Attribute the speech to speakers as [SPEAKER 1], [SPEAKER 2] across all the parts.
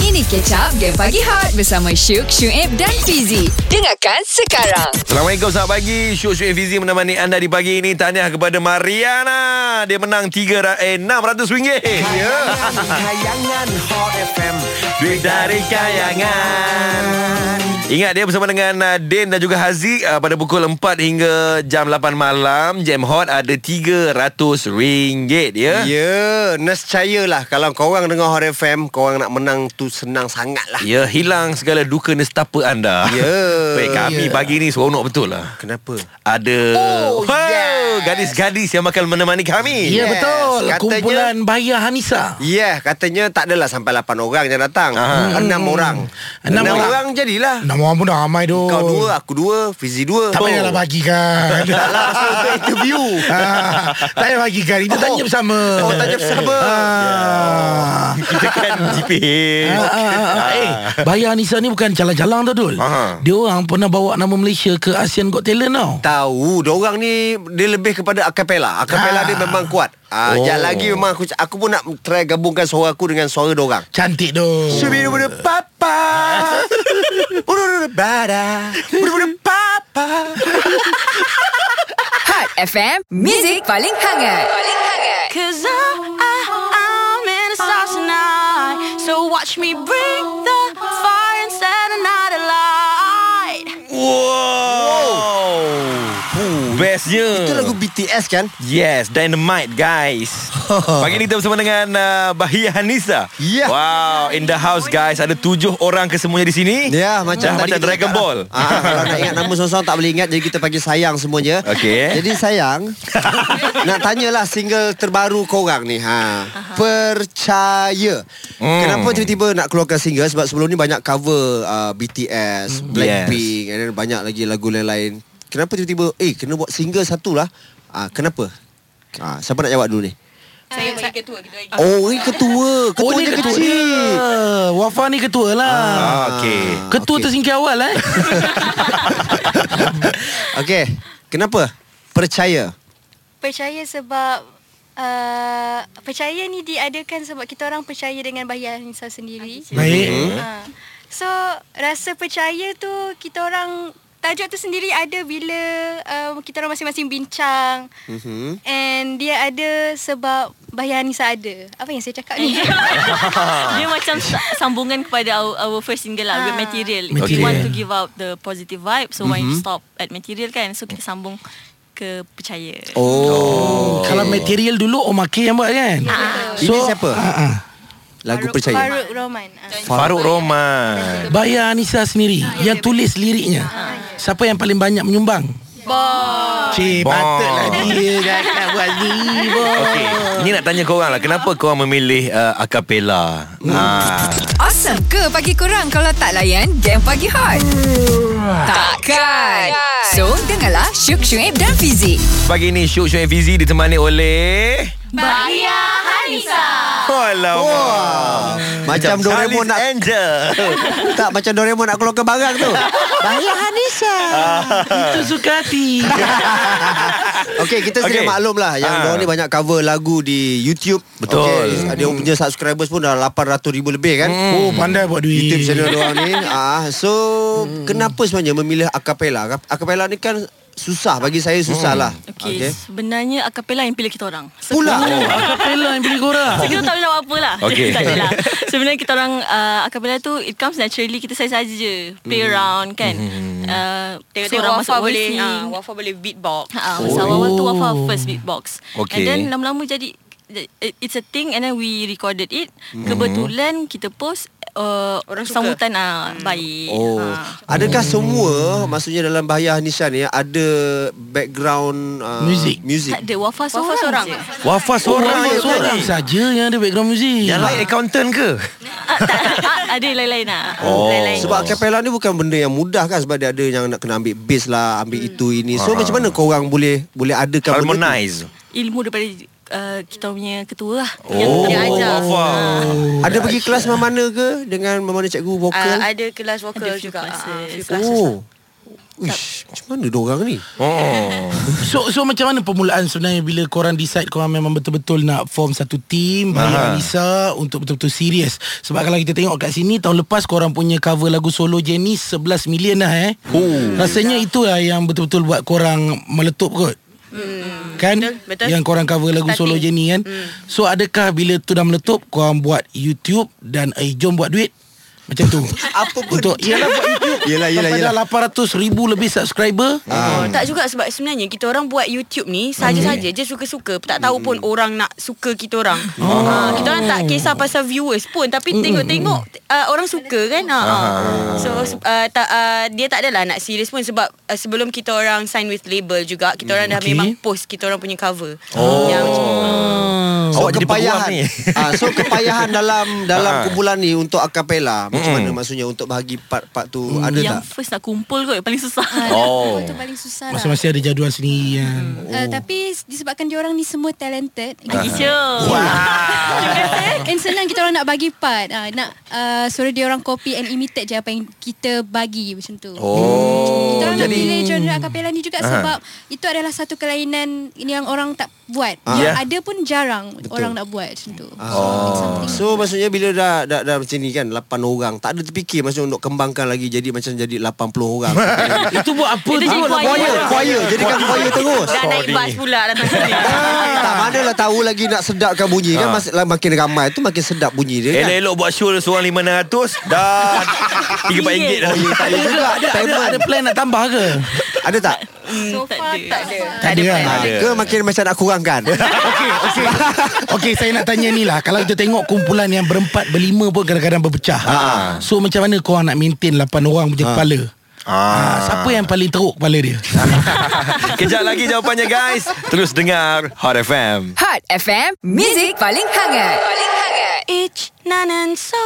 [SPEAKER 1] Ini Catch Up Game Pagi Hot bersama Syuk, Syuib dan Fizi. Dengarkan sekarang.
[SPEAKER 2] Assalamualaikum, selamat pagi. Syuk Syuk Fizi menemani anda di pagi ini. Tahniah kepada Mariana. Dia menang 3, eh, RM600. Ya.
[SPEAKER 3] Kayangan Hot FM
[SPEAKER 2] Duit dari kayangan. Ingat dia bersama dengan uh, Din dan juga Haziq uh, pada pukul 4 hingga jam 8 malam. Jam Hot ada RM300
[SPEAKER 4] Eh?
[SPEAKER 3] Ya
[SPEAKER 2] ya.
[SPEAKER 3] yeah, Nescaya lah Kalau korang dengar Hot FM Korang nak menang tu Senang sangat lah
[SPEAKER 2] Ya, hilang segala duka nestapa anda.
[SPEAKER 3] Ya.
[SPEAKER 2] Weh, kami
[SPEAKER 3] Ya.
[SPEAKER 2] pagi ni seronok betul lah.
[SPEAKER 3] Kenapa?
[SPEAKER 2] Ada
[SPEAKER 3] Oh, yes.
[SPEAKER 2] gadis-gadis yang akan menemani kami.
[SPEAKER 4] Ya
[SPEAKER 3] Yes,
[SPEAKER 4] betul
[SPEAKER 3] katanya-
[SPEAKER 4] Kumpulan Bahaya Hanisa
[SPEAKER 3] Ya yeah, katanya tak adalah sampai 8 orang yang datang
[SPEAKER 2] Aha.
[SPEAKER 3] Enam orang
[SPEAKER 4] Ah. Hmm. Enam
[SPEAKER 3] Enam
[SPEAKER 4] orang.
[SPEAKER 3] orang jadilah
[SPEAKER 4] Nama orang pun dah ramai tu
[SPEAKER 3] Kau dua, aku dua, Fizi dua Oh,
[SPEAKER 4] Tak lah, payahlah bagikan
[SPEAKER 3] Tak lah pasal untuk interview
[SPEAKER 4] ah, Tak payah bagikan Kita
[SPEAKER 3] Oh.
[SPEAKER 4] tanya bersama
[SPEAKER 3] Oh tanya bersama
[SPEAKER 4] ah.
[SPEAKER 2] Kita kan tipis.
[SPEAKER 3] Ya.
[SPEAKER 4] Ah, ah, ah, ah. Eh, Bahaya Hanisa ni bukan jalan-jalan tau Dul
[SPEAKER 2] Aha.
[SPEAKER 4] Dia orang pernah bawa nama Malaysia ke ASEAN Got Talent tau
[SPEAKER 3] Tahu Diorang ni Dia lebih kepada acapella Acapella
[SPEAKER 4] Ah.
[SPEAKER 3] dia memang kuat Ah, oh.
[SPEAKER 4] Oh.
[SPEAKER 3] lagi memang aku aku pun nak try gabungkan suara aku dengan suara diorang.
[SPEAKER 4] Cantik tu
[SPEAKER 3] Subiru papa. Bururu bada. Bururu papa.
[SPEAKER 1] Hot FM, Music paling hangat. Paling hangat.
[SPEAKER 5] Cause I, I, I'm in a star tonight. So watch me bring the fire and set another light.
[SPEAKER 2] Wow. Huh, Bestnya.
[SPEAKER 3] Itu lagu BTS kan?
[SPEAKER 2] Yes, Dynamite guys. Pagi ni kita bersama dengan uh, Bahia Hanisa.
[SPEAKER 3] Ya.
[SPEAKER 2] Wow, in the house guys. Ada tujuh orang kesemuanya di sini. Dah
[SPEAKER 3] Ya macam tadi
[SPEAKER 2] macam
[SPEAKER 3] kita
[SPEAKER 2] Dragon
[SPEAKER 3] cakap
[SPEAKER 2] Ball.
[SPEAKER 3] lah. Ah, kalau nak ingat nama seorang-seorang tak boleh ingat Jadi kita panggil sayang semuanya
[SPEAKER 2] Okey.
[SPEAKER 3] Jadi sayang Nak tanyalah single terbaru korang ni ha. Percaya
[SPEAKER 2] Hmm.
[SPEAKER 3] Kenapa tiba-tiba nak keluarkan single Sebab sebelum ni banyak cover uh,
[SPEAKER 2] Hmm.
[SPEAKER 3] BTS Blackpink And then banyak lagi lagu lain-lain Kenapa tiba-tiba Eh kena buat single satu lah ah, Kenapa? Ah, siapa nak jawab dulu ni?
[SPEAKER 5] Saya bagi ketua kita.
[SPEAKER 3] Oh ni ketua Ketua
[SPEAKER 4] Oh
[SPEAKER 3] dia
[SPEAKER 4] ni ketua
[SPEAKER 3] kecil
[SPEAKER 4] Wafa ni ketua lah
[SPEAKER 2] Ah, okay.
[SPEAKER 4] Ketua
[SPEAKER 3] okey.
[SPEAKER 4] tersingkir awal eh
[SPEAKER 3] Okay Kenapa? Percaya
[SPEAKER 5] Percaya sebab uh, percaya ni diadakan sebab kita orang percaya dengan Bahia Hansa sendiri.
[SPEAKER 4] Baik
[SPEAKER 5] Ha. So rasa percaya tu kita orang tajuk tu sendiri ada bila um, kita orang masing-masing bincang
[SPEAKER 3] Mhm.
[SPEAKER 5] and dia ada sebab Bahia Hansa ada. Apa yang saya cakap ni?
[SPEAKER 6] Dia macam sa- sambungan kepada our, our first single lah, with
[SPEAKER 5] Ah.
[SPEAKER 6] material. We
[SPEAKER 4] Material.
[SPEAKER 6] want to give out the positive vibe, so mm-hmm. why you stop at material kan? So kita sambung ke percaya.
[SPEAKER 3] Oh,
[SPEAKER 4] Kalau material dulu Omar K yang buat kan
[SPEAKER 3] Ini siapa?
[SPEAKER 4] ah, ah.
[SPEAKER 3] Lagu
[SPEAKER 5] Faruk-
[SPEAKER 3] percaya
[SPEAKER 5] Faruk Roman. Ah.
[SPEAKER 2] Faruk Roman.
[SPEAKER 4] Bayar Anissa sendiri Yang tulis liriknya Siapa yang paling banyak menyumbang? Boy Cik,
[SPEAKER 2] Boy.
[SPEAKER 4] patutlah dia dah nak buat ni boy
[SPEAKER 2] Okay, ini nak tanya korang lah. Kenapa korang memilih uh, acapella?
[SPEAKER 3] Hmm.
[SPEAKER 2] Ah.
[SPEAKER 1] Awesome ke pagi kurang kalau tak layan Game Pagi Hot? Takkan. So, dengarlah Syuk, Syuib dan Fizi.
[SPEAKER 2] Pagi ni Syuk Syuk Fizi ditemani oleh Bahia Hanisa. Alamak. Wow.
[SPEAKER 3] Macam Doraemon nak
[SPEAKER 2] Angel.
[SPEAKER 3] Tak macam Doraemon nak keluarkan barang tu Bahaya Hanisa
[SPEAKER 4] Itu suka hati
[SPEAKER 3] Okay kita sedia
[SPEAKER 2] Okay.
[SPEAKER 3] maklum lah Yang
[SPEAKER 2] Ah.
[SPEAKER 3] diorang ni banyak cover lagu di YouTube
[SPEAKER 2] Betul.
[SPEAKER 3] okay, Dia punya subscribers pun dah 800 ribu lebih kan
[SPEAKER 4] Oh pandai buat duit
[SPEAKER 3] YouTube channel diorang ni ah, So Kenapa sebenarnya memilih acapella Acapella ni kan Susah bagi saya susah lah
[SPEAKER 6] Okay, okay, sebenarnya acapella yang pilih kita orang. So,
[SPEAKER 3] Pula
[SPEAKER 4] Acapella yang pilih korang
[SPEAKER 6] kita tak boleh nak buat apa lah.
[SPEAKER 2] Okay.
[SPEAKER 6] tak adalah. Sebenarnya kita orang uh, acapella tu, it comes naturally, kita saya saja je.
[SPEAKER 2] Hmm.
[SPEAKER 6] Play around kan. Uh,
[SPEAKER 7] Tengok-tengok
[SPEAKER 6] seorang
[SPEAKER 7] Wafa
[SPEAKER 6] masuk
[SPEAKER 7] boleh
[SPEAKER 6] voicing.
[SPEAKER 7] ha, Wafa boleh beatbox
[SPEAKER 6] Ha, oh. awal tu Wafa first beatbox.
[SPEAKER 2] Okay.
[SPEAKER 6] And then lama-lama jadi it's a thing and then we recorded it.
[SPEAKER 2] Hmm.
[SPEAKER 6] Kebetulan kita post uh,
[SPEAKER 7] Orang suka. Hmm.
[SPEAKER 6] sambutan ah baik.
[SPEAKER 3] Oh.
[SPEAKER 6] Ha.
[SPEAKER 3] Adakah semua maksudnya dalam Bahaya Hanisa ni ada background uh,
[SPEAKER 4] Music.
[SPEAKER 3] music?
[SPEAKER 6] Tak ada Wafa seorang.
[SPEAKER 7] Wafa seorang
[SPEAKER 6] je.
[SPEAKER 2] Wafa
[SPEAKER 4] Orang
[SPEAKER 2] seorang.
[SPEAKER 4] yang seorang saja yang ada background muzik
[SPEAKER 2] Yang lain accountant ke?
[SPEAKER 6] Ah, tak, ah, ada lain-lain lah.
[SPEAKER 2] Oh.
[SPEAKER 6] Lain-lain.
[SPEAKER 3] Sebab acapella ni bukan benda yang mudah kan sebab dia ada yang nak kena ambil bass lah,
[SPEAKER 6] Hmm.
[SPEAKER 3] ambil itu ini. So macam mana korang boleh boleh adakan benda tu?
[SPEAKER 2] Harmonize.
[SPEAKER 6] Ilmu daripada uh, kita punya ketua lah.
[SPEAKER 2] Oh, Wafa.
[SPEAKER 3] Ada pergi
[SPEAKER 6] Ah,
[SPEAKER 3] kelas mana-mana ke dengan mana cikgu
[SPEAKER 7] uh,
[SPEAKER 3] vokal?
[SPEAKER 7] Ada kelas vokal
[SPEAKER 6] Ada few
[SPEAKER 7] juga Ah,
[SPEAKER 6] classes.
[SPEAKER 7] few
[SPEAKER 3] oh. Uish, macam mana diorang ni?
[SPEAKER 2] Oh.
[SPEAKER 4] So so macam mana permulaan sebenarnya bila korang decide korang memang betul-betul nak form satu team
[SPEAKER 2] Aha.
[SPEAKER 4] Bagi Anissa untuk betul-betul serius. Sebab kalau kita tengok kat sini tahun lepas korang punya cover lagu solo Jenny 11 million dah eh.
[SPEAKER 2] Oh.
[SPEAKER 4] Rasanya itulah yang betul-betul buat korang meletup kot. Hmm. Kan
[SPEAKER 6] Betul, betul.
[SPEAKER 4] Yang korang cover lagu
[SPEAKER 6] Starting.
[SPEAKER 4] solo Jenny kan hmm. So adakah bila tu dah meletup Korang buat YouTube Dan eh jom buat duit Macam tu
[SPEAKER 3] Apa pun.
[SPEAKER 4] Untuk Yalah buat YouTube
[SPEAKER 3] Yelah, yelah,
[SPEAKER 4] Sampai
[SPEAKER 3] yelah.
[SPEAKER 4] dah 800 ribu lebih subscriber
[SPEAKER 6] Oh, tak juga sebab sebenarnya kita orang buat YouTube ni saja-saja je suka-suka. Tak tahu pun orang nak suka kita orang. Oh. Ha, kita orang tak kisah pasal viewers pun tapi tengok-tengok uh, orang suka kan. Ha. ha. So uh, tak uh, dia tak adalah nak serius pun sebab uh, sebelum kita orang sign with label juga kita orang dah
[SPEAKER 4] Okay.
[SPEAKER 6] memang post kita orang punya cover.
[SPEAKER 2] Oh.
[SPEAKER 6] Yang macam ah,
[SPEAKER 3] So
[SPEAKER 2] Awak jadi
[SPEAKER 3] kepayahan
[SPEAKER 2] peguam ni.
[SPEAKER 3] ah, So kepayahan dalam Dalam
[SPEAKER 2] Ah.
[SPEAKER 3] kumpulan ni Untuk akapela Macam
[SPEAKER 2] Mm-mm. Mm.
[SPEAKER 3] mana maksudnya Untuk bagi part-part tu Ada
[SPEAKER 6] yang
[SPEAKER 3] tak?
[SPEAKER 6] first nak kumpul kot paling susah.
[SPEAKER 2] Oh.
[SPEAKER 7] Itu paling susah
[SPEAKER 3] Ah.
[SPEAKER 7] lah.
[SPEAKER 4] Masing-masing ada jadual sendiri kan
[SPEAKER 6] Hmm.
[SPEAKER 7] Uh, tapi disebabkan diorang ni semua talented
[SPEAKER 6] Lagi je.
[SPEAKER 2] Ah.
[SPEAKER 7] And senang kita orang nak bagi part uh, Nak uh, suruh dia orang copy and imitate je Apa yang kita bagi macam tu
[SPEAKER 2] Oh.
[SPEAKER 7] Kita orang nak
[SPEAKER 2] Jadi
[SPEAKER 7] pilih genre acapella ni juga
[SPEAKER 2] Aha.
[SPEAKER 7] Sebab itu adalah satu kelainan Yang orang tak buat
[SPEAKER 2] Ah.
[SPEAKER 7] Yang
[SPEAKER 2] Ya. Ah.
[SPEAKER 7] ada pun jarang Orang nak buat macam tu oh.
[SPEAKER 3] So maksudnya bila dah, dah, dah macam ni kan 8 orang Tak ada terfikir Maksudnya untuk kembangkan lagi Jadi macam jadi 80 orang
[SPEAKER 4] Itu buat apa tu
[SPEAKER 6] Itu jadi
[SPEAKER 4] lah
[SPEAKER 6] choir.
[SPEAKER 3] Choir Choir Jadikan choir terus
[SPEAKER 6] Dah naik
[SPEAKER 2] Sorry.
[SPEAKER 6] bas pula datang sini.
[SPEAKER 3] Ah, tak manalah tahu lagi nak sedapkan bunyi kan
[SPEAKER 2] Ah. Eh,
[SPEAKER 3] mas, lah, makin ramai tu makin sedap bunyi dia kan.
[SPEAKER 2] Elok-elok buat show seorang 500 Dah RM3 dah
[SPEAKER 3] Eh, tak ada juga
[SPEAKER 4] Ada, ada,
[SPEAKER 3] payment.
[SPEAKER 4] ada plan nak tambah ke?
[SPEAKER 3] Ada tak?
[SPEAKER 6] So far tak ada.
[SPEAKER 4] Tak ada kan?
[SPEAKER 3] Ha,
[SPEAKER 2] Ada.
[SPEAKER 3] ke makin macam nak kurangkan?
[SPEAKER 4] Okey, saya nak tanya ni lah. Kalau kita tengok kumpulan yang berempat, berlima pun kadang-kadang berpecah. So, macam mana korang nak maintain lapan orang punya kepala? Ah. Siapa yang paling teruk kepala dia?
[SPEAKER 2] Kejap lagi jawapannya guys Terus dengar Hot FM
[SPEAKER 1] Hot FM, music paling hangat. Paling hangat.
[SPEAKER 5] Each nan and so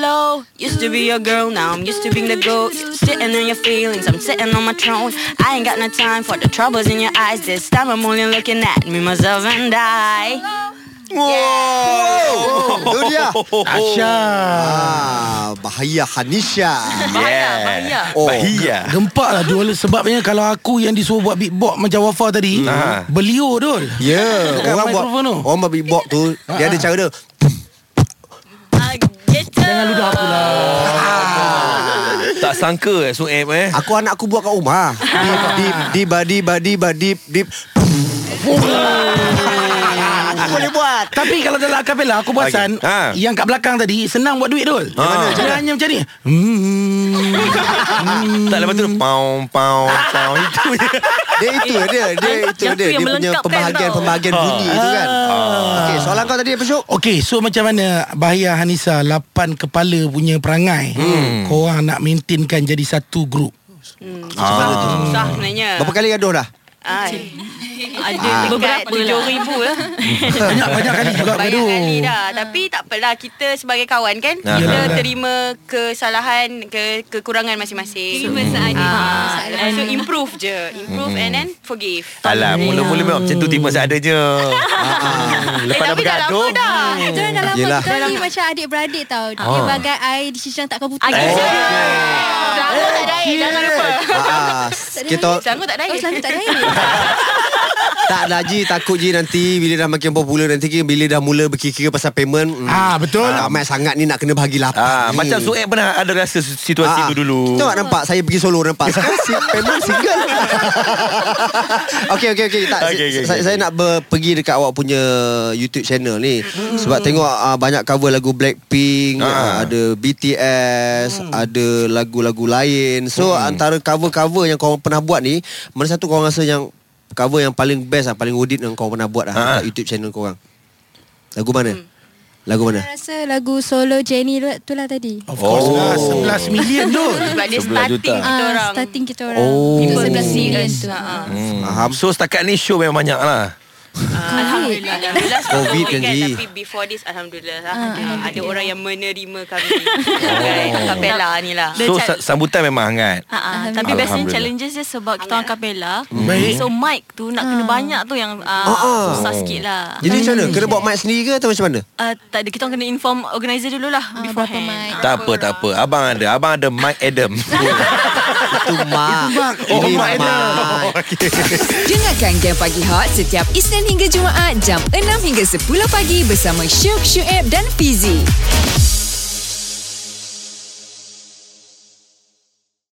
[SPEAKER 5] low. Used to be your girl, now I'm used to being the goat. Sitting on your feelings, I'm sitting on my throne. I ain't got no time for the troubles in your eyes. This time I'm only looking at me, myself, and I.
[SPEAKER 3] Tu dia.
[SPEAKER 2] Oh.
[SPEAKER 4] Asya.
[SPEAKER 3] Ah, bahaya Hanisha.
[SPEAKER 6] Bahaya, bahaya.
[SPEAKER 2] Oh. Bahaya
[SPEAKER 4] Gempak lah dua sebabnya kalau aku yang disuruh buat beatbox macam Wafa tadi,
[SPEAKER 2] Ah.
[SPEAKER 4] beliau tu.
[SPEAKER 3] Ya, yeah, orang
[SPEAKER 4] Dekat
[SPEAKER 3] buat
[SPEAKER 4] microphone tu.
[SPEAKER 3] orang buat beatbox tu, dia ada cara dia.
[SPEAKER 6] Ah, gitu.
[SPEAKER 4] Jangan ludah aku lah.
[SPEAKER 2] Tak sangka eh Sueb eh
[SPEAKER 3] Aku anak aku buat kat rumah. Deep, deep, deep, deep, deep, deep, deep. Aku boleh buat.
[SPEAKER 4] Tapi kalau dalam akapela aku perasan
[SPEAKER 2] Okey. Ha.
[SPEAKER 4] yang kat belakang tadi senang buat duit dul.
[SPEAKER 2] mana?
[SPEAKER 4] Dia hanya macam ni. Hmm.
[SPEAKER 2] Tak lepas tu Pau Pau Pau Itu je
[SPEAKER 3] Dia itu dia, dia
[SPEAKER 6] yang-
[SPEAKER 3] itu dia, dia
[SPEAKER 6] yang tu Ah. yang
[SPEAKER 3] punya
[SPEAKER 6] melengkapkan tau.
[SPEAKER 3] pembahagian-pembahagian bunyi tu kan. Okey, soalan kau tadi apa Syuk?
[SPEAKER 4] Ah. Okey, so macam mana Bahaya Hanisa lapan kepala punya perangai. Hmm. Korang nak maintainkan jadi satu grup.
[SPEAKER 5] Susah Ah. sebenarnya.
[SPEAKER 3] Berapa Ah. kali gaduh dah?
[SPEAKER 5] Ai.
[SPEAKER 6] Ada dekat
[SPEAKER 5] Beberapa lah.
[SPEAKER 6] 7,000
[SPEAKER 3] eh.
[SPEAKER 6] lah.
[SPEAKER 4] Banyak banyak kali juga
[SPEAKER 5] Banyak
[SPEAKER 4] gaduh.
[SPEAKER 5] kali dah Tapi tak apalah Kita sebagai kawan kan
[SPEAKER 2] Aha.
[SPEAKER 5] Kita
[SPEAKER 4] Yalah.
[SPEAKER 5] terima kesalahan ke Kekurangan masing-masing
[SPEAKER 3] Hmm.
[SPEAKER 7] Terima seadanya
[SPEAKER 5] Ah,
[SPEAKER 7] Kesalahan.
[SPEAKER 5] lepas tu improve je Improve and then forgive
[SPEAKER 2] Alah Mula-mula memang macam tu Tiba seadanya Lepas dah
[SPEAKER 5] Eh, tapi dah
[SPEAKER 2] bergaduh
[SPEAKER 5] lama dah.
[SPEAKER 7] Kita orang dah lama
[SPEAKER 3] Yelah.
[SPEAKER 7] Kita orang ni macam adik-beradik tau Dia
[SPEAKER 2] Ah.
[SPEAKER 7] bagai air di sisang tak Oh.
[SPEAKER 6] Ah,
[SPEAKER 7] keputus
[SPEAKER 6] gitu. Dah aku tak ada air, jangan lupa.
[SPEAKER 3] Ah, kita
[SPEAKER 5] Selangor tak ada
[SPEAKER 7] Oh
[SPEAKER 5] air
[SPEAKER 7] selalu tak ada air
[SPEAKER 3] tak lah Ji Takut Ji nanti Bila dah makin popular Nanti ke- bila dah mula berkira-kira pasal payment hmm,
[SPEAKER 4] Ah, betul.
[SPEAKER 3] ah, Ramai sangat ni nak kena bagi lapar
[SPEAKER 2] Ah,
[SPEAKER 3] ni.
[SPEAKER 2] Macam Sueb pernah ada rasa situasi
[SPEAKER 3] Ah,
[SPEAKER 2] tu dulu
[SPEAKER 3] Kita tak nampak Saya pergi solo nampak Sekarang si, payment single Okay okay okay, tak,
[SPEAKER 2] Okay,
[SPEAKER 3] okay,
[SPEAKER 2] okay,
[SPEAKER 3] okay, saya,
[SPEAKER 2] okay.
[SPEAKER 3] saya nak ber, pergi dekat awak punya YouTube channel ni Sebab tengok ah, Banyak cover lagu Blackpink
[SPEAKER 2] Hmm. Ah. Hmm.
[SPEAKER 3] ah. Ada BTS Ada lagu-lagu lain So antara cover-cover Yang korang pernah buat ni Mana satu korang rasa yang Cover yang paling best lah Paling audit yang korang pernah buat lah
[SPEAKER 2] Ah.
[SPEAKER 3] Kat YouTube channel korang Lagu mana? Lagu mana?
[SPEAKER 7] Saya rasa lagu solo Jenny tu lah tadi
[SPEAKER 4] Of course lah,
[SPEAKER 2] Oh.
[SPEAKER 4] 11 million dul.
[SPEAKER 5] Sebab dia
[SPEAKER 2] 11
[SPEAKER 5] starting
[SPEAKER 2] juta.
[SPEAKER 5] kita
[SPEAKER 7] Ah,
[SPEAKER 5] orang
[SPEAKER 7] Starting kita orang
[SPEAKER 3] Oh.
[SPEAKER 7] Kita
[SPEAKER 3] People
[SPEAKER 7] 11 million
[SPEAKER 5] serious.
[SPEAKER 7] tu
[SPEAKER 5] Ah,
[SPEAKER 3] Faham?
[SPEAKER 2] Hmm. So setakat ni show memang banyak lah
[SPEAKER 5] Alhamdulillah Alhamdulillah sebab
[SPEAKER 3] Covid kan, Ji.
[SPEAKER 5] Tapi before this Alhamdulillah lah
[SPEAKER 7] Ah,
[SPEAKER 5] ada, ada orang yang menerima kami
[SPEAKER 3] Oh.
[SPEAKER 5] Sebagai Kapela ni lah
[SPEAKER 2] So sa- sambutan memang hangat
[SPEAKER 6] Ah, ah, tapi biasanya
[SPEAKER 2] Alhamdulillah.
[SPEAKER 6] challenges dia sebab kita orang kapela.
[SPEAKER 3] Hmm.
[SPEAKER 4] Baik.
[SPEAKER 6] So mic tu nak kena banyak tu yang ah, susah sikit lah.
[SPEAKER 3] Jadi macam mana? Kena bawa mic sendiri ke atau macam mana?
[SPEAKER 6] Ah, tak ada kita orang kena inform organizer dululah
[SPEAKER 7] Ah, berapa
[SPEAKER 6] beforehand.
[SPEAKER 7] mic?
[SPEAKER 2] Tak apa tak apa Abang ada Abang ada Mike Adam
[SPEAKER 3] Itu mak.
[SPEAKER 2] Oh,
[SPEAKER 3] Ini
[SPEAKER 2] mak dia.
[SPEAKER 1] Dengarkan Game Pagi Hot setiap Isnin hingga Jumaat jam 6 hingga 10 pagi bersama Syuk, Syuib dan Fizi.